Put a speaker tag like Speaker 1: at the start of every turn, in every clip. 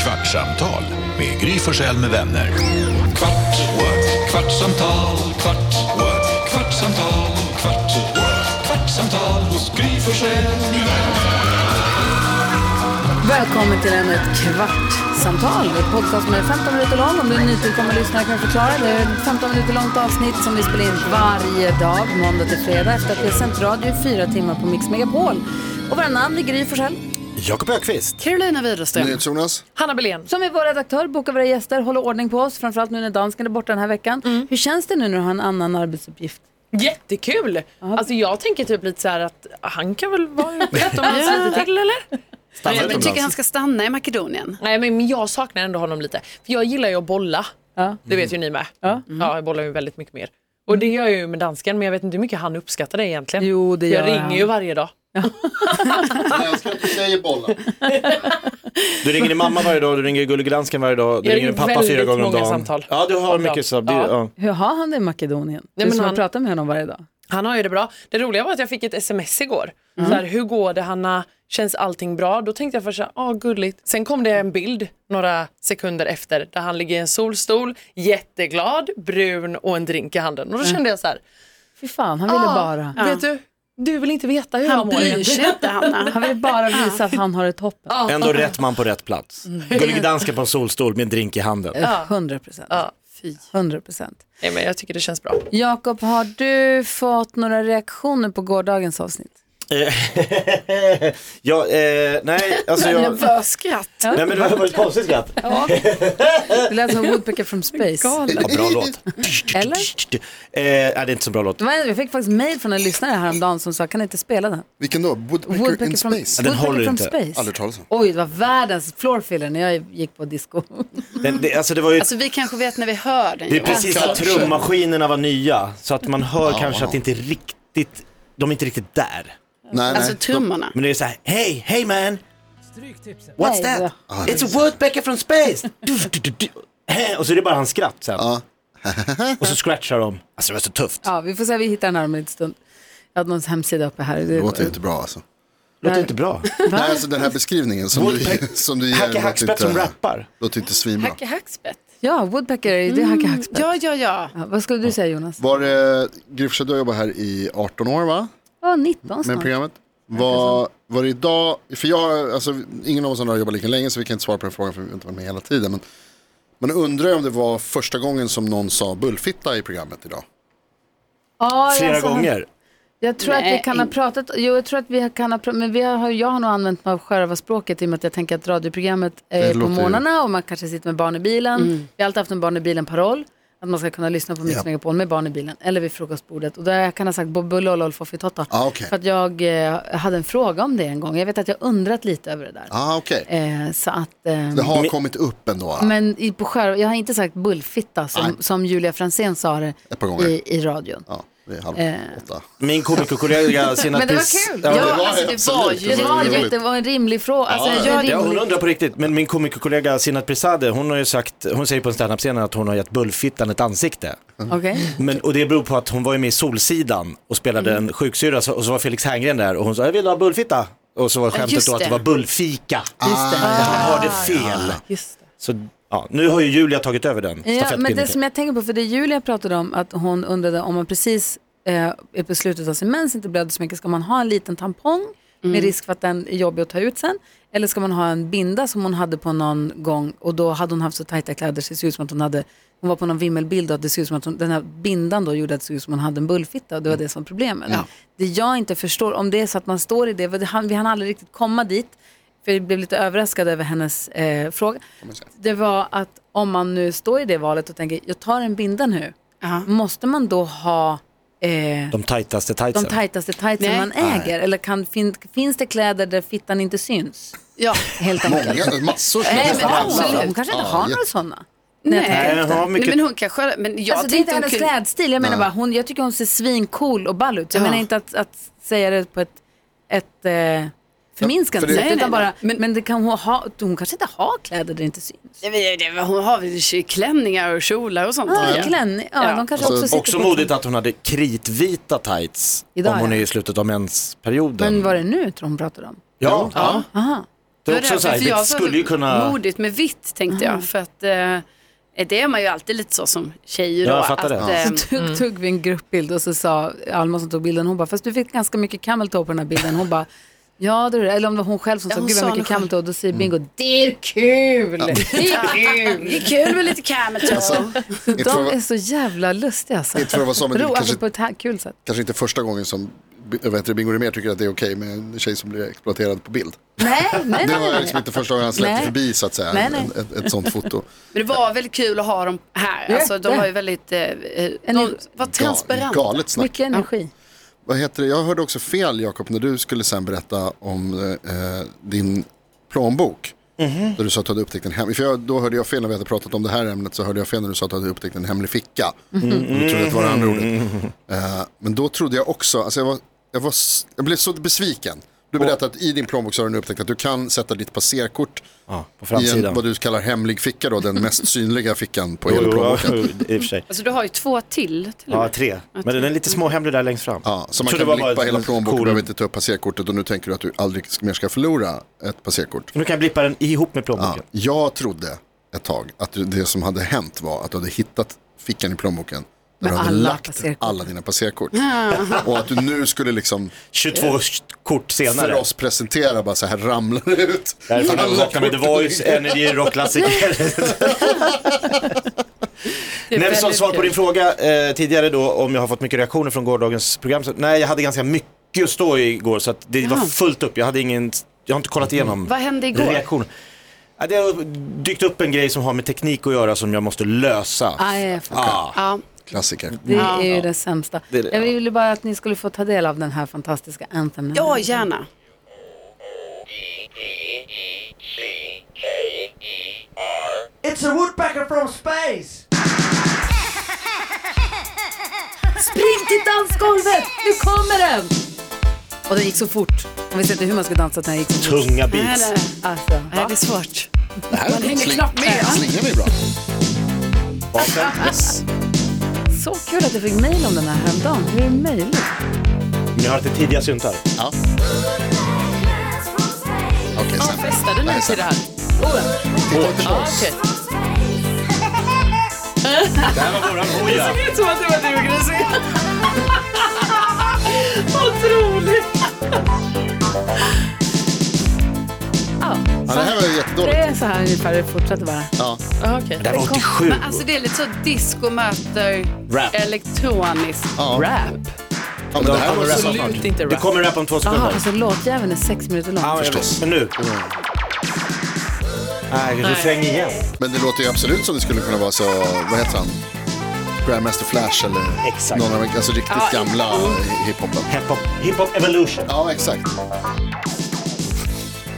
Speaker 1: Kvartsamtal med Gry Forssell med vänner. Kvart, what? kvartsamtal, kvart, what? kvartsamtal, kvart, what? kvartsamtal hos Gry Forssell med vänner.
Speaker 2: Välkommen till ännu ett kvartsamtal. Ett podcast som är 15 minuter lång. Om du är nytillkommen lyssnare kan jag förklara. Det är ett 15 minuter långt avsnitt som vi spelar in varje dag, måndag till fredag. Efter att vi har sänt radio i fyra timmar på Mix Megapol. Och våra namn är Gry Forssell.
Speaker 3: Jakob Ökvist.
Speaker 2: Carolina Widerström.
Speaker 4: Jonas.
Speaker 5: Hanna Belén.
Speaker 2: Som är vår redaktör, bokar våra gäster, håller ordning på oss. Framförallt nu när dansken är borta den här veckan. Hur känns det nu när du har en annan arbetsuppgift?
Speaker 5: Jättekul! Alltså jag tänker typ lite så här att han kan väl vara utomlands lite till eller?
Speaker 6: Men
Speaker 3: Stannar
Speaker 6: du
Speaker 3: utomlands.
Speaker 6: tycker han ska stanna i Makedonien?
Speaker 5: Nej men jag saknar ändå honom lite. För jag gillar ju att bolla. Det vet ju ni med. Ja. jag bollar ju väldigt mycket mer. Och det gör jag ju med dansken men jag vet inte hur mycket han uppskattar det egentligen.
Speaker 2: Jo, det
Speaker 5: jag
Speaker 2: gör
Speaker 5: ringer
Speaker 2: han.
Speaker 5: ju varje dag.
Speaker 4: Jag ska inte säga bollar.
Speaker 3: Du ringer din mamma varje dag, du ringer gullegransken varje dag, du
Speaker 5: Jag
Speaker 3: ringer din
Speaker 5: ringer
Speaker 3: pappa fyra
Speaker 5: väldigt
Speaker 3: gånger om
Speaker 5: många
Speaker 3: dagen.
Speaker 5: samtal.
Speaker 3: Ja, du har
Speaker 5: Om dagen.
Speaker 3: mycket så. Det, ja.
Speaker 5: Ja.
Speaker 2: Hur har han det i Makedonien? Nej,
Speaker 5: men
Speaker 2: du som har
Speaker 5: han-
Speaker 2: pratat med honom varje dag.
Speaker 5: Han har ju det bra. Det roliga var att jag fick ett sms igår. Så här, hur går det Hanna? Känns allting bra? Då tänkte jag först så här, åh gulligt. Sen kom det en bild några sekunder efter där han ligger i en solstol, jätteglad, brun och en drink i handen. Och då kände jag så här, "Ah,
Speaker 2: Fy fan, han ville bara.
Speaker 5: vet du, du vill inte veta hur jag
Speaker 6: Han
Speaker 5: mår
Speaker 6: bryr sig inte Hanna.
Speaker 2: Han ville bara visa att han har det toppen.
Speaker 3: Ändå rätt man på rätt plats.
Speaker 5: Mm.
Speaker 3: Gullegransken på en solstol med en drink i handen.
Speaker 2: 100 procent.
Speaker 5: Ja.
Speaker 2: Fy. 100 procent.
Speaker 5: Nej, men jag tycker det känns bra.
Speaker 2: Jakob, har du fått några reaktioner på gårdagens avsnitt?
Speaker 3: Eh, Ja, eh, nej, alltså jag...
Speaker 6: Nervös skratt.
Speaker 3: Nej men det var ett konstigt skratt.
Speaker 2: Det lät som Woodpecker
Speaker 6: Oh
Speaker 2: from Space.
Speaker 3: Ja, bra låt.
Speaker 2: Eller?
Speaker 3: Eh, nej, det är inte så bra låt.
Speaker 5: Mm.
Speaker 2: Det var- Jag fick faktiskt mejl från en lyssnare häromdagen som sa, kan ni inte spela den?
Speaker 4: Vilken då? Woodpecker, in
Speaker 2: Woodpecker from,
Speaker 4: space?
Speaker 3: den
Speaker 2: Woodpecker
Speaker 3: håller
Speaker 2: from
Speaker 3: inte.
Speaker 2: Space.
Speaker 4: Aldrig talas om.
Speaker 2: Oj, det var världens floor filler när jag gick på disco.
Speaker 3: Den, det, alltså det var ju...
Speaker 6: Alltså vi kanske vet när vi hör den.
Speaker 3: Det är
Speaker 6: Jonas.
Speaker 3: precis när trummaskinerna var nya, så att man hör kanske att det inte riktigt, de är inte riktigt där.
Speaker 4: Nej, nej.
Speaker 6: Alltså trummorna.
Speaker 3: Men det är så här, hey, hey man!
Speaker 2: Nej,
Speaker 3: What's that? It's a woodpecker from space! Ah, Du, du, du, du. Eh, Och så är det bara hans skratt sen. Och så scratchar de. Alltså det var så tufft.
Speaker 2: Ja, vi får se, vi hittar den här om en liten stund. Jag hade någons hemsida uppe här.
Speaker 4: det
Speaker 2: Det,
Speaker 4: låter inte bra alltså.
Speaker 3: Låter inte bra.
Speaker 4: Nej, alltså den här beskrivningen som du,
Speaker 3: Woodpecker-
Speaker 4: som du ger
Speaker 3: Hacke
Speaker 4: låter
Speaker 3: Hackspett som
Speaker 4: inte,
Speaker 3: rappar.
Speaker 4: låter inte svinbra.
Speaker 6: Hacke hackspett.
Speaker 2: ja, Woodpecker, är ju- det är Hacke Hackspett.
Speaker 6: Mm. Ja, ja, ja.
Speaker 2: Ja, vad skulle du säga Jonas?
Speaker 4: Var det, Gryfsjö, du har jobbat här i 18 år va?
Speaker 2: Ja, 19
Speaker 4: Med
Speaker 2: snart.
Speaker 4: programmet. Var, var det idag, för jag har, alltså ingen av oss andra har jobbat lika länge så vi kan inte svara på den frågan för vi har inte varit med hela tiden. Men man undrar ju om det var första gången som någon sa bullfitta i programmet idag.
Speaker 2: Ja, jag
Speaker 3: Flera
Speaker 2: sa-
Speaker 3: gånger.
Speaker 2: Jag tror
Speaker 6: Nej,
Speaker 2: att vi kan ha
Speaker 6: in-
Speaker 2: pratat, jo jag tror att vi kan ha pratat, men vi har, jag har nog använt mig av sjörövarspråket i och med att jag tänker att radioprogrammet
Speaker 4: Det
Speaker 2: är på
Speaker 4: låter ju-
Speaker 2: morgnarna och man kanske sitter med barn i bilen. Vi har alltid haft en barn i bilen-paroll, att man ska kunna lyssna på Mix
Speaker 4: Ja.
Speaker 2: Megapol med barn i bilen eller vid frukostbordet. Och där jag kan ha sagt bobbulle och lollfoffitotta.
Speaker 4: Ah, okej.
Speaker 2: För att jag eh, hade en fråga om det en gång. Jag vet att jag undrat lite över det där.
Speaker 4: Ah, okej.
Speaker 2: Eh, så att, ehm,
Speaker 4: Det har kommit upp ändå. alltså.
Speaker 2: men i, på skär, jag har inte sagt bullfitta
Speaker 4: Nej.
Speaker 2: som, som Julia Fransén sa det
Speaker 4: Ett par gånger.
Speaker 2: i, i radion.
Speaker 4: Ja, det är halv
Speaker 2: Eh.
Speaker 4: åtta.
Speaker 3: Min komikerkollega Sina
Speaker 2: Men det var
Speaker 3: Piss-
Speaker 2: kul.
Speaker 3: Ja,
Speaker 6: Ja,
Speaker 4: det var
Speaker 6: alltså det
Speaker 4: absolut.
Speaker 6: var
Speaker 4: Det
Speaker 6: ju...
Speaker 2: Det
Speaker 4: var
Speaker 2: var,
Speaker 4: roligt.
Speaker 2: jätte, det var en rimlig fråga. Alltså,
Speaker 4: Ja,
Speaker 2: en
Speaker 3: Ja, hon
Speaker 2: rimlig...
Speaker 3: undrar på riktigt, men min komikerkollega Sinat Pirzadeh, hon har ju sagt, hon säger på en standup-scen att hon har gett bullfittan ett ansikte.
Speaker 2: Okej.
Speaker 3: Men, och det beror på att hon var ju med i Solsidan och spelade en sjuksyra så- och så var Felix Herngren där och hon sa jag vill ha bullfitta. Och så var skämtet
Speaker 6: just
Speaker 3: då att det
Speaker 6: det.
Speaker 3: var bullfika.
Speaker 2: Just det.
Speaker 3: Han hörde fel.
Speaker 5: Just det.
Speaker 3: Så ja, nu har ju Julia tagit över den
Speaker 2: Ja, men det
Speaker 3: stafettpinnen. typ.
Speaker 2: som jag tänker på, för det Julia pratade om, att hon undrade om man precis eh, är på slutet av sin mens inte blöder så mycket, ska man ha en liten tampong med risk för att den är jobbig att ta ut sen? Eller ska man ha en binda som hon hade på någon gång och då hade hon haft så tajta kläder så det ser ut som att hon hade, hon var på någon vimmelbild och att det ser ut som att hon, den här bindan då gjorde att det såg ut som att hon hade en bullfitta och det var det som var problemet. Det jag inte förstår, om det är så att man står i det, för det hann- vi hann aldrig riktigt komma dit, för jag blev lite överraskad över hennes eh, fråga. Det var att om man nu står i det valet och tänker, jag tar en binda nu,
Speaker 6: Ja.
Speaker 2: måste man då ha eh,
Speaker 3: De tajtaste
Speaker 2: de
Speaker 3: tightsen.
Speaker 2: tajtaste tightsen
Speaker 6: Nej.
Speaker 2: man äger? Eller kan, fin, finns det kläder där fittan inte syns?
Speaker 6: ja.
Speaker 2: Helt enkelt.
Speaker 4: Många, massor.
Speaker 2: Nej, men absolut. Hon
Speaker 4: Ja,
Speaker 2: kanske inte
Speaker 4: ja,
Speaker 2: har
Speaker 4: jätte-
Speaker 2: några sådana.
Speaker 3: Nej,
Speaker 6: Nej.
Speaker 3: hon har
Speaker 6: Nej,
Speaker 3: mycket...
Speaker 6: men hon kanske... Men jag
Speaker 2: Alltså, det är inte
Speaker 6: tänkte hon
Speaker 2: hennes
Speaker 6: kunde...
Speaker 2: klädstil. Jag menar bara, hon, jag tycker hon ser svincool och ball ut. Så jag
Speaker 6: Ja.
Speaker 2: menar inte att, att säga det på ett, ett eh, förminskande
Speaker 4: Ja, för det-
Speaker 2: sätt.
Speaker 6: Nej,
Speaker 2: utan
Speaker 6: nej,
Speaker 2: bara,
Speaker 6: nej.
Speaker 2: men, det kan hon, ha, hon kanske inte har kläder där det inte syns.
Speaker 6: Nej, men det- det- Hon har väl klänningar och kjolar och sånt.
Speaker 2: Ja,
Speaker 6: tänker jag.
Speaker 2: klänning. Ja,
Speaker 6: Ja.
Speaker 2: De kanske
Speaker 4: Alltså,
Speaker 2: också sitter
Speaker 3: Också
Speaker 2: på-
Speaker 3: modigt att hon hade kritvita tights
Speaker 2: Idag,
Speaker 3: om hon
Speaker 2: ja.
Speaker 3: är i slutet av mensperioden.
Speaker 2: Men var det nu tror hon pratade om?
Speaker 3: Ja, ja.
Speaker 2: Aha.
Speaker 3: Det är också
Speaker 6: därför
Speaker 3: så här,
Speaker 6: för jag
Speaker 3: det
Speaker 6: sa
Speaker 3: skulle ju
Speaker 6: så
Speaker 3: kunna...
Speaker 6: Modigt med vitt tänkte jag. För att eh, det är man ju alltid lite så som tjejer.
Speaker 3: Ja,
Speaker 6: då,
Speaker 3: jag fattar
Speaker 6: att,
Speaker 3: det. Ja.
Speaker 6: eh,
Speaker 2: Tog, tog vi en gruppbild och så sa Alma som tog bilden, hon bara, fast du fick ganska mycket camel toe på den här bilden. Hon bara, ja det är det. Eller om det var hon själv som sa,
Speaker 6: hon
Speaker 2: gud
Speaker 6: sa
Speaker 2: vad
Speaker 6: det
Speaker 2: mycket
Speaker 6: själv.
Speaker 2: camel toe. Då säger Bingo, det är kul! Det är kul!
Speaker 6: Det är kul med lite camel toe.
Speaker 3: Alltså,
Speaker 4: Inte för,
Speaker 2: De är
Speaker 4: att-
Speaker 2: så jävla lustiga alltså.
Speaker 4: inte för att vara så, men det
Speaker 2: Ro,
Speaker 4: är
Speaker 2: alltså
Speaker 4: kanske,
Speaker 2: på ett här kul sätt.
Speaker 4: kanske inte första gången som jag vet, inte, Bingo Rimér tycker att det är okej med en tjej som blir exploaterad på bild.
Speaker 2: Nej, nej,
Speaker 4: Det
Speaker 2: nej.
Speaker 4: var liksom inte första gången han släppte
Speaker 2: Nej.
Speaker 4: förbi så att säga,
Speaker 2: Nej, nej.
Speaker 4: en- Ett, ett sånt foto.
Speaker 6: Men det var väldigt kul att ha dem här. Alltså, de
Speaker 2: Jätte.
Speaker 6: var ju väldigt, eh, eh, de var transparenta.
Speaker 4: galet snack.
Speaker 2: Mycket energi.
Speaker 4: Vad heter det? Jag hörde också fel Jakob när du skulle sen berätta om eh, din plånbok.
Speaker 3: Mhm.
Speaker 4: Där du sa att du hade upptäckt en hemlig, för jag, då hörde jag fel när vi hade pratat om det här ämnet så hörde jag fel när du sa att du hade upptäckt en hemlig ficka.
Speaker 3: Mhm.
Speaker 4: Och Du trodde att det var det andra
Speaker 3: Mm.
Speaker 4: ordet. Eh, men då trodde jag också, alltså jag, var, jag, var, s- jag blev så besviken. Du berättade att i din plånbok så har du nu upptäckt att du kan sätta ditt passerkort
Speaker 3: Ja, på
Speaker 4: i en,
Speaker 3: framsidan.
Speaker 4: vad du kallar hemlig ficka då, den mest synliga fickan på
Speaker 3: Jo,
Speaker 4: hela
Speaker 3: jo, ja,
Speaker 4: plånboken.
Speaker 3: i och för sig.
Speaker 6: Alltså, du har ju två till. till och
Speaker 3: Ja,
Speaker 6: med.
Speaker 3: tre. Men den är lite småhemlig där längst fram.
Speaker 4: Ja, så man
Speaker 3: Så det
Speaker 4: kan
Speaker 3: var
Speaker 4: blippa
Speaker 3: bara ett-
Speaker 4: hela plånboken
Speaker 3: cool-
Speaker 4: och behöver inte ta upp passerkortet och nu tänker du att du aldrig mer ska förlora ett passerkort.
Speaker 3: Nu kan jag blippa den ihop med
Speaker 4: Ja,
Speaker 3: plånboken.
Speaker 4: jag trodde ett tag att du- det som hade hänt var att du hade hittat fickan i plånboken där du hade
Speaker 2: alla
Speaker 4: lagt
Speaker 2: passerkort.
Speaker 4: alla dina passerkort. och att du nu skulle liksom
Speaker 3: 22 kort
Speaker 4: för
Speaker 3: senare.
Speaker 4: oss presentera bara så här ramlar det ut.
Speaker 3: Därför när vi
Speaker 4: Alla
Speaker 3: vaknar med The
Speaker 4: kort.
Speaker 3: Voice, Energy, rockklassiker.
Speaker 2: Det är
Speaker 3: Nej, men som
Speaker 2: väldigt
Speaker 3: svar på
Speaker 2: kul.
Speaker 3: din fråga eh, tidigare då om jag har fått mycket reaktioner från gårdagens program. Så, nej, jag hade ganska mycket att stå i igår så att det var fullt upp. Jag hade ingen, jag har inte kollat igenom
Speaker 6: Vad hände igår?
Speaker 3: reaktioner. Ja, det har dykt upp en grej som har med teknik att göra som jag måste lösa.
Speaker 2: Ah, jag fattar.
Speaker 3: Ah,
Speaker 6: Ja,
Speaker 4: Klassiker.
Speaker 2: Det är ju det sämsta.
Speaker 3: Det är det,
Speaker 2: jag
Speaker 3: ja.
Speaker 2: ville bara att ni skulle få ta del av den här fantastiska Anthem.
Speaker 6: ja gärna.
Speaker 7: It's a woodpecker from space.
Speaker 2: Spring till dansgolvet! Nu kommer den! Och den gick så fort. Jag visste inte hur man skulle dansa att den gick så fort.
Speaker 3: tunga
Speaker 6: Nej,
Speaker 3: beats.
Speaker 6: det,
Speaker 2: Alltså,
Speaker 6: nej, det är svårt.
Speaker 4: Det här
Speaker 6: hänger
Speaker 4: sling-
Speaker 6: knappt med.
Speaker 4: slingar vi bra.
Speaker 2: så kul att jag fick mejl om den här häromdagen. Hur är det möjligt?
Speaker 3: Men jag har lite tidiga syntar.
Speaker 4: Ja. Okej,
Speaker 5: Ja,
Speaker 4: sen.
Speaker 5: festade ni
Speaker 4: Nej,
Speaker 5: till
Speaker 4: sen.
Speaker 5: det här?
Speaker 4: Titta inte på
Speaker 5: Ja,
Speaker 4: oss.
Speaker 5: okej.
Speaker 3: Det här var våran hoja.
Speaker 5: Det som att det var du Gry.
Speaker 4: Ja, det här var ju
Speaker 2: Det
Speaker 4: jättedåligt.
Speaker 2: är så här ungefär det fortsätter bara.
Speaker 4: Ja.
Speaker 5: Ja, okej.
Speaker 3: Det här var 87.
Speaker 6: Men alltså det är lite så disco möter
Speaker 3: Rap.
Speaker 6: elektronisk
Speaker 4: Ja.
Speaker 5: Rap?
Speaker 4: Ja, men det här var
Speaker 3: kommer rappa
Speaker 4: så...
Speaker 5: Absolut
Speaker 3: snart.
Speaker 5: inte rap.
Speaker 3: Det kommer rap om två
Speaker 2: Jaha,
Speaker 3: sekunder.
Speaker 2: alltså låtjäveln är sex minuter lång.
Speaker 3: Ja, jag
Speaker 4: Förstås.
Speaker 3: vet. Men nu. Nej, refräng igen.
Speaker 4: Men det låter ju absolut som det skulle kunna vara så, vad heter han? Grandmaster Flash eller
Speaker 3: Exakt.
Speaker 4: någon av de alltså riktigt gamla hiphopen.
Speaker 3: Hiphop, hiphop evolution.
Speaker 4: Ja, exakt.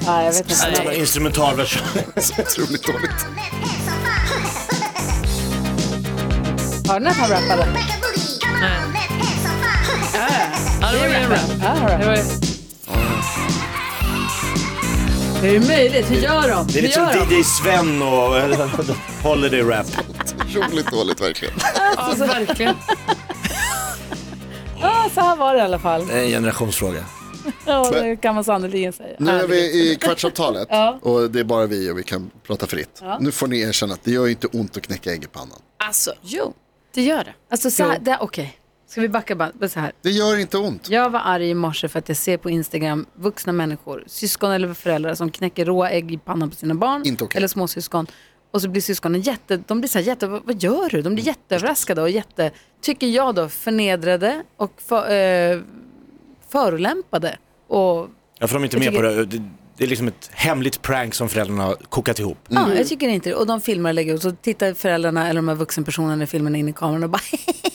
Speaker 2: Ja, jag vet inte.
Speaker 3: En instrumentalversion.
Speaker 4: Så otroligt dåligt.
Speaker 2: Hörde ni att han rappade?
Speaker 5: Ja, det var ju en rap.
Speaker 2: Ja, han
Speaker 5: Det
Speaker 2: rappade.
Speaker 5: var ju...
Speaker 2: Hur är det möjligt? Hur gör de?
Speaker 3: Det är
Speaker 2: Hur
Speaker 3: lite som
Speaker 2: gör de?
Speaker 3: DJ Sven och Holiday Rap.
Speaker 4: Otroligt dåligt verkligen.
Speaker 5: Ja, verkligen.
Speaker 2: Ja, så här var det i alla fall.
Speaker 3: En generationsfråga.
Speaker 2: Ja, det kan man sannerligen säga.
Speaker 4: Nu är vi i kvartsavtalet och det är bara vi och vi kan prata fritt. Nu får ni erkänna att det gör ju inte ont att knäcka ägg i pannan.
Speaker 6: Alltså,
Speaker 2: Jo.
Speaker 6: det gör det.
Speaker 2: Alltså så här, där- okej. Ska vi backa bara så här.
Speaker 4: Det gör inte ont.
Speaker 2: Jag var arg i morse för att jag ser på Instagram vuxna människor, syskon eller föräldrar som knäcker råa ägg i pannan på sina barn
Speaker 4: Inte okej.
Speaker 2: eller småsyskon. Och så blir syskonen jätte, de blir så här jätte, vad, vad gör du? De
Speaker 4: Mm,
Speaker 2: blir jätteöverraskade och jätte, tycker jag då, förnedrade och för, eh, förolämpade. Och
Speaker 3: Ja, för de är inte
Speaker 2: Jag
Speaker 3: med på
Speaker 2: tycker-
Speaker 3: det. Det- Det är liksom ett hemligt prank som föräldrarna har kokat ihop.
Speaker 4: Mm.
Speaker 2: Ja, jag tycker inte det. Och de filmar och lägger ut. Så tittar föräldrarna eller de här vuxenpersonerna i filmen in i kameran och bara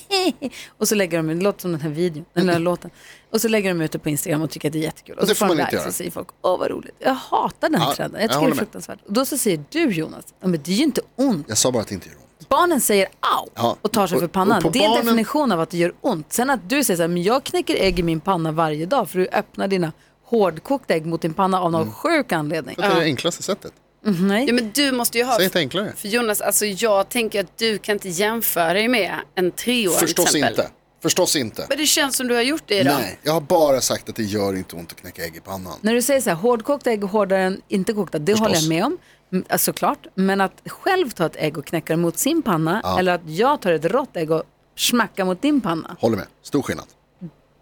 Speaker 2: Och så lägger de ut, det låter som den här videon, den här låten. Och så lägger de ut det på Instagram och tycker att det är jättekul. Och så
Speaker 4: Det får man
Speaker 2: de
Speaker 4: inte
Speaker 2: likes
Speaker 4: göra.
Speaker 2: och säger folk, åh vad roligt. Jag hatar den
Speaker 4: Ja,
Speaker 2: trenden,
Speaker 4: jag
Speaker 2: jag tycker det
Speaker 4: håller
Speaker 2: är
Speaker 4: med.
Speaker 2: fruktansvärt. Och då så säger du Jonas, ja, men det är ju inte ont.
Speaker 4: Jag sa bara att det inte gör ont.
Speaker 2: Barnen säger au
Speaker 4: Ja,
Speaker 2: och tar sig
Speaker 4: och-
Speaker 2: för
Speaker 4: och
Speaker 2: pannan.
Speaker 4: på
Speaker 2: det är en
Speaker 4: barnen-
Speaker 2: definition av att det gör ont. Sen att du säger så här, men jag knäcker ägg i min panna varje dag för du öppnar dina hårdkokta ägg mot din panna av någon
Speaker 4: Mm.
Speaker 2: sjuk anledning.
Speaker 4: Det är det enklaste sättet.
Speaker 2: Nej.
Speaker 6: Ja, men du måste ju ha...
Speaker 4: Säg inte enklare.
Speaker 6: För Jonas, alltså jag tänker att du kan inte jämföra dig med en treåring till
Speaker 4: Förstås
Speaker 6: exempel.
Speaker 4: inte. Förstås inte.
Speaker 6: Men det känns som du har gjort det idag.
Speaker 4: Nej, jag har bara sagt att det gör inte ont att knäcka ägg i pannan.
Speaker 2: När du säger så här, hårdkokt ägg är hårdare än inte kokta, det håller jag med om. Mm, ja, Såklart, men att själv ta ett ägg och knäcka det mot sin panna eller att jag tar ett rått ägg och smackar mot din panna,
Speaker 4: Håller med, stor skillnad.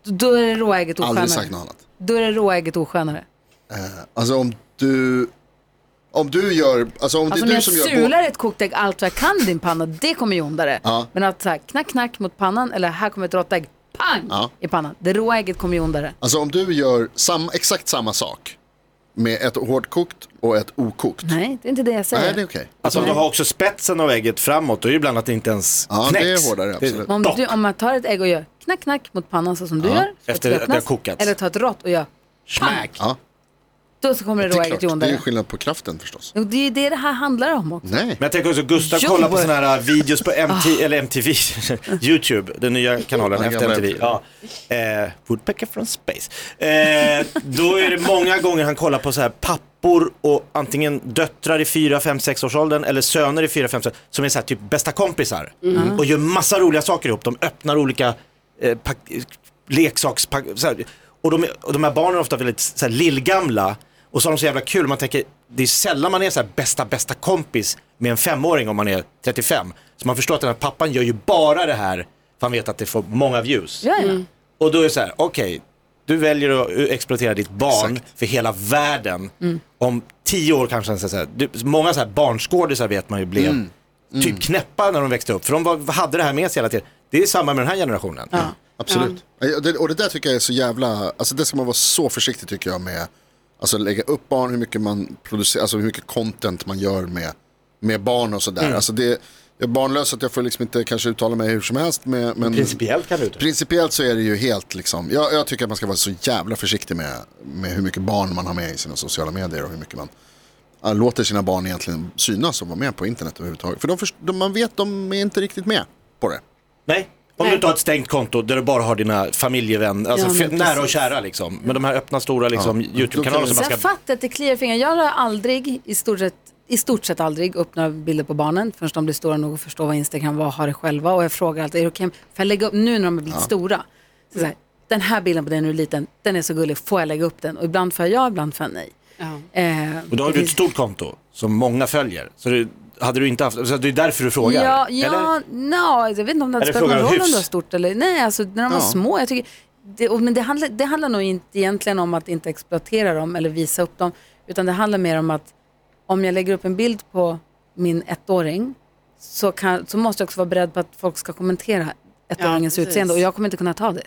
Speaker 2: då är det råägget
Speaker 4: Aldrig sagt
Speaker 2: oskönare.
Speaker 4: något annat.
Speaker 2: Då är det råägget oskönare.
Speaker 4: Alltså om du, om du gör, alltså om det
Speaker 2: Alltså
Speaker 4: är
Speaker 2: om
Speaker 4: du
Speaker 2: jag
Speaker 4: som gör...
Speaker 2: sular ett kokt ägg allt vad jag kan i din panna, det kommer ju ondare.
Speaker 4: Ja.
Speaker 2: Men att så här, knack, knack mot pannan eller här kommer ett rått ägg, pang
Speaker 4: Ja.
Speaker 2: i pannan. Det råa ägget kommer ju ondare.
Speaker 4: Alltså om du gör sam, exakt samma sak med ett hårdkokt och ett okokt.
Speaker 2: Nej, det är inte det jag säger.
Speaker 4: Nej, det är okej.
Speaker 3: Alltså om du har också spetsen av ägget framåt, då är det ibland att det inte ens
Speaker 4: Ja, det är
Speaker 3: knäcks.
Speaker 4: hårdare, absolut.
Speaker 2: Men om,
Speaker 3: dock.
Speaker 2: du, om man tar ett ägg och gör knack, knack mot pannan så som du gör. så
Speaker 3: Efter att det har
Speaker 2: öppnas,
Speaker 3: kokats.
Speaker 2: Eller tar ett rått och gör,
Speaker 3: Smack.
Speaker 4: Ja,
Speaker 2: då så kommer det
Speaker 4: det
Speaker 2: råa
Speaker 4: är klart.
Speaker 2: ägget ju
Speaker 4: Det är ju
Speaker 2: ondare.
Speaker 4: skillnad på kraften förstås.
Speaker 2: Jo, Det är ju det det här handlar om också.
Speaker 4: Nej.
Speaker 3: Men jag tänker också Gustav
Speaker 2: Jo.
Speaker 3: kollar på sådana här eh, videos på MTV, eller MTV, YouTube, den nya kanalen
Speaker 4: Den
Speaker 3: efter
Speaker 4: gamla
Speaker 3: MTV. Ja. Eh, Woodpecker from space. Eh, då är det många gånger han kollar på så här pappor och antingen döttrar i 4, 5, 6 års åldern eller söner i 4, 5, 6 som är så här typ bästa kompisar och gör massa roliga saker ihop. De öppnar olika eh, pack, leksakspack, så här. Och, de, och de här barnen är ofta väldigt så här, lillgamla och så har de så jävla kul. Man tänker, det är sällan man är så här bästa, bästa kompis med en femåring om man är 35. Så man förstår att den här pappan gör ju bara det här för han vet att det får många views.
Speaker 2: Ja, ja.
Speaker 3: Och då är det så här, okej, du väljer att exploatera ditt barn för hela världen.
Speaker 2: Mm.
Speaker 3: Om tio år kanske, så här, du, många så här barnskådisar vet man ju blev
Speaker 2: Mm.
Speaker 3: typ knäppa när de växte upp. För de var, hade det här med sig hela tiden. Det är samma med den här generationen. Mm.
Speaker 4: Absolut. Ja, det- Och det där tycker jag är så jävla, alltså det ska man vara så försiktig tycker jag med, alltså lägga upp barn, hur mycket man producerar, alltså hur mycket content man gör med, med barn och
Speaker 3: Mm.
Speaker 4: sådär. Alltså det, jag är barnlös att jag får liksom inte kanske uttala mig hur som helst med, men
Speaker 3: Principiellt kan du inte.
Speaker 4: principiellt så är det ju helt liksom, jag, jag tycker att man ska vara så jävla försiktig med, med hur mycket barn man har med i sina sociala medier och hur mycket man ja, låter sina barn egentligen synas och vara med på internet överhuvudtaget. För de, först- de, man vet, de är inte riktigt med på det.
Speaker 3: Nej. Om du inte har ett stängt konto där du bara har dina familjevänner, alltså
Speaker 2: Ja, men
Speaker 3: f- nära och
Speaker 2: precis.
Speaker 3: kära liksom. Men de här öppna stora liksom, YouTube-kanalerna som
Speaker 2: Så
Speaker 3: man
Speaker 2: jag
Speaker 3: ska...
Speaker 2: fattar att det kliar i fingrarna. Jag har aldrig, i stort sett, i stort sett aldrig upp några bilder på barnen förrän de blir stora nog att förstå vad Instagram var och har det själva. Och jag frågar alltid, är det okej? om- Får jag lägga upp, nu när de har blivit stora, så så här, den här bilden på dig när du är liten, den är så gullig, får jag lägga upp den? Och ibland får jag ja, ibland får jag nej. Eh,
Speaker 3: Och då
Speaker 2: det
Speaker 3: har du ett
Speaker 2: finns-
Speaker 3: stort konto som måmånga följer. Så det, hade du inte haft, så det är därför du frågar.
Speaker 2: Ja,
Speaker 3: Eller?
Speaker 2: ja no, jag vet inte om det hade
Speaker 3: Eller
Speaker 2: spelat någon
Speaker 3: frågar
Speaker 2: roll
Speaker 3: hyfs.
Speaker 2: om det var stort eller nej, alltså när de var
Speaker 4: Ja.
Speaker 2: små. Jag tycker, det, och, men det handlar, det handlar nog inte egentligen om att inte exploatera dem eller visa upp dem, utan det handlar mer om att om jag lägger upp en bild på min ettåring så, kan, så måste jag också vara beredd på att folk ska kommentera ettåringens
Speaker 6: precis.
Speaker 2: utseende och jag kommer inte kunna ta det.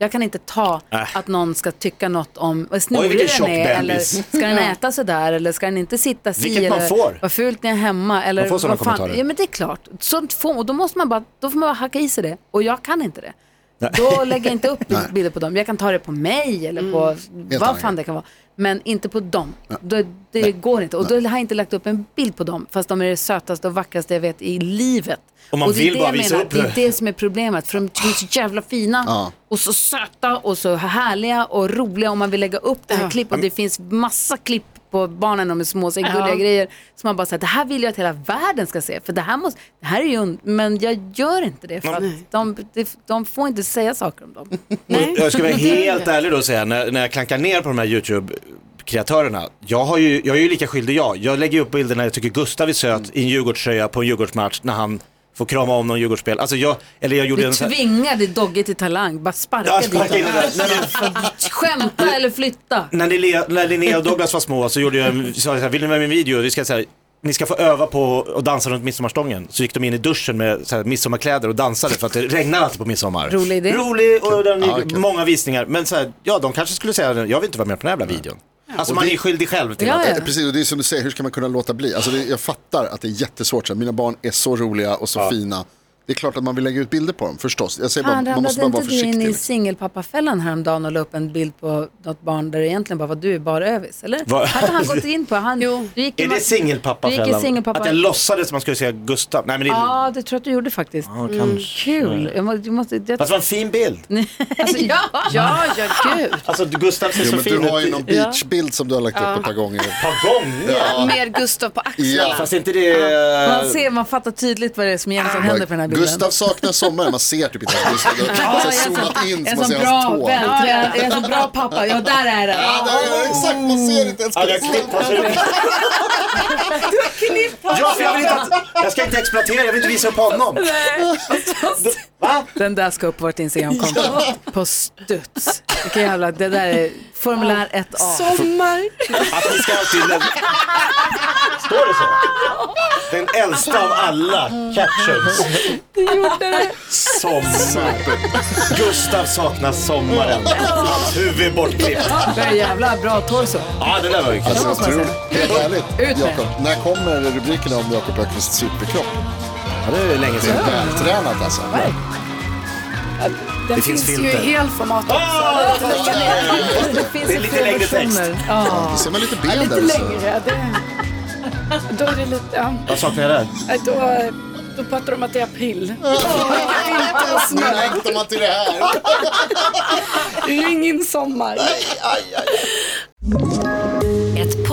Speaker 2: Jag kan inte ta att någon ska tycka något om vad snorig
Speaker 3: Äh. vilken
Speaker 2: den
Speaker 3: tjock
Speaker 2: är eller
Speaker 3: bebis.
Speaker 2: ska den äta sådär eller ska den inte sitta si
Speaker 3: Vilket man
Speaker 2: eller
Speaker 3: får.
Speaker 2: vad fult ni är hemma eller
Speaker 3: Man får sådana
Speaker 2: vad fan-
Speaker 3: kommentarer.
Speaker 2: Ja, men det är klart. Sånt får, och då, måste man bara, då får man bara hacka i sig det. Och jag kan inte det. Då lägger jag inte upp bilder på dem. Jag kan ta det på mig eller
Speaker 3: Mm.
Speaker 2: på vad
Speaker 4: annan
Speaker 2: fan det kan vara. Men inte på dem. Då, det går inte. Och då har jag inte lagt upp en bild på dem. Fast de är det sötaste och vackraste jag vet i livet.
Speaker 3: Och man
Speaker 2: det är
Speaker 3: vill
Speaker 2: det
Speaker 3: bara
Speaker 2: jag
Speaker 3: visa
Speaker 2: menar.
Speaker 3: upp
Speaker 2: Det är
Speaker 3: det.
Speaker 2: det som är problemet. För de är så jävla fina
Speaker 4: Ja.
Speaker 2: och så söta och så härliga och roliga. Om man vill lägga upp det här klippet. Och det finns massa klipp på barnen när de är små. Så här gulliga grejer. Som man bara säger, det här vill jag att hela världen ska se. För det här, måste, det här är ju... un- Men jag gör inte det. För att de, de, de får inte säga saker om dem.
Speaker 3: Och Jag ska vara helt ärlig då och säga, när, när jag klankar ner på de här YouTube-kreatörerna, jag, har ju, jag är ju lika skyldig jag. Jag lägger upp bilder när jag tycker Gustav är söt i en Djurgårdströja på en Djurgårdsmatch när han får krama om någon Djurgårdsspel. Alltså jag, eller jag gjorde
Speaker 2: Du
Speaker 3: en sån här-
Speaker 2: tvingade Dogge till Talang. Bara sparka
Speaker 3: Ja,
Speaker 2: dit
Speaker 3: sparka in den
Speaker 2: honom.
Speaker 3: där. Nej, men-
Speaker 2: Skämta eller flytta.
Speaker 3: när, Linnea, när Linnea och Douglas var små så gjorde jag, en- sa jag så här, vill ni vara med i en video? Vi ska, så här, ni ska få öva på att dansa runt midsommarstången. Så gick de in i duschen med så här, midsommarkläder och dansade för att det regnar alltid på midsommar.
Speaker 2: Rolig idé.
Speaker 3: Rolig och den
Speaker 4: Ja,
Speaker 3: gick
Speaker 4: kul.
Speaker 3: många visningar. Men så här, ja, de kanske skulle säga, jag vill inte vara med på den här jävla videon. Alltså man är skyldig själv till
Speaker 2: Ja,
Speaker 3: att
Speaker 2: ja.
Speaker 4: Eh, Precis, och det är som du säger, hur ska man kunna låta bli? Alltså det, jag fattar att det är jättesvårt. Så här, Mina barn är så roliga och så fina. Det är klart att man vill lägga ut bilder på dem, förstås. Jag säger bara,
Speaker 2: Han
Speaker 4: man
Speaker 2: ramlade
Speaker 4: måste bara
Speaker 2: inte
Speaker 4: vara
Speaker 2: du
Speaker 4: försiktig.
Speaker 2: in i
Speaker 4: liksom.
Speaker 2: singelpappafällan häromdagen och la upp en bild på något barn där det egentligen bara var du i bara övis, eller?
Speaker 3: Va?
Speaker 2: Hade han gått in på? Han, jo. Du gick i
Speaker 3: Är det
Speaker 2: ma-
Speaker 3: singelpappa
Speaker 2: Du gick i singelpappa.
Speaker 3: Att jag låtsades att man skulle säga Gustav? Nej men det är...
Speaker 2: Ja, det tror jag att du gjorde faktiskt.
Speaker 3: Ja, kanske.
Speaker 2: Kul. Jag må, du måste, jag,
Speaker 3: Fast det var en fin bild.
Speaker 6: Alltså, ja, ja, ja, gud.
Speaker 3: Alltså Gustav ser
Speaker 4: Jo,
Speaker 3: så
Speaker 4: men
Speaker 3: fin
Speaker 4: du
Speaker 3: ut.
Speaker 4: har ju någon beachbild som du har lagt upp ett par gånger.
Speaker 3: Ett par gånger.
Speaker 6: Mer Gustav på axlarna.
Speaker 4: Ja.
Speaker 3: Fast är inte det...
Speaker 2: man ser, man fattar tydligt vad det är som egentligen händer på den här
Speaker 5: bilen.
Speaker 4: Ah, Gustav saknar sommaren, man ser typ inte ens Gustav. Det har så
Speaker 2: Ja,
Speaker 4: här
Speaker 2: jag är
Speaker 4: zoomat
Speaker 2: så, jag
Speaker 4: in så
Speaker 2: är
Speaker 4: man
Speaker 2: så
Speaker 4: ser
Speaker 2: bra
Speaker 4: hans tår.
Speaker 2: vän, jag är så bra pappa. Ja, där är den.
Speaker 4: Ja, där är det, exakt, man ser inte ens
Speaker 3: Ja, jag
Speaker 4: Gustav.
Speaker 3: klippt hans huvud. Ja, för jag vill inte att, jag ska inte exploatera, jag vill inte visa upp honom. Va?
Speaker 2: Den där ska upp på vårt Instagramkonto. På studs. Vilken jävla, det där är formulär 1A.
Speaker 5: Sommar.
Speaker 3: Att ni ska alltid lämna... Står det så? Den äldsta av alla captions. Sommar. Gustav saknar sommaren. Hans huvud är bortklippt.
Speaker 2: Det är jävla bra torso.
Speaker 3: Ja, det där var ju kul.
Speaker 4: Alltså,
Speaker 2: måste man
Speaker 4: otroligt. Helt
Speaker 2: Ut
Speaker 4: ärligt,
Speaker 2: med
Speaker 4: Jakob. När kommer rubrikerna om Jakob Öqvists superkropp?
Speaker 3: Ja, det är ju länge
Speaker 4: Det
Speaker 3: sedan.
Speaker 4: är vältränat alltså.
Speaker 2: Den
Speaker 3: Det finns
Speaker 2: ju
Speaker 3: filter.
Speaker 2: i helformat också.
Speaker 3: Ah!
Speaker 2: Alltså, Det finns ju
Speaker 3: lite
Speaker 2: fler
Speaker 3: längre text.
Speaker 2: versioner. Ja.
Speaker 4: Då ser man lite ben där.
Speaker 8: Lite
Speaker 4: också.
Speaker 8: längre. Det, då är det lite, ja,
Speaker 3: Vad saknar jag där?
Speaker 8: då, då pratar de om att det är april.
Speaker 4: Nu längtar alltså, man till det här.
Speaker 8: Det är ju ingen sommar.
Speaker 9: Ett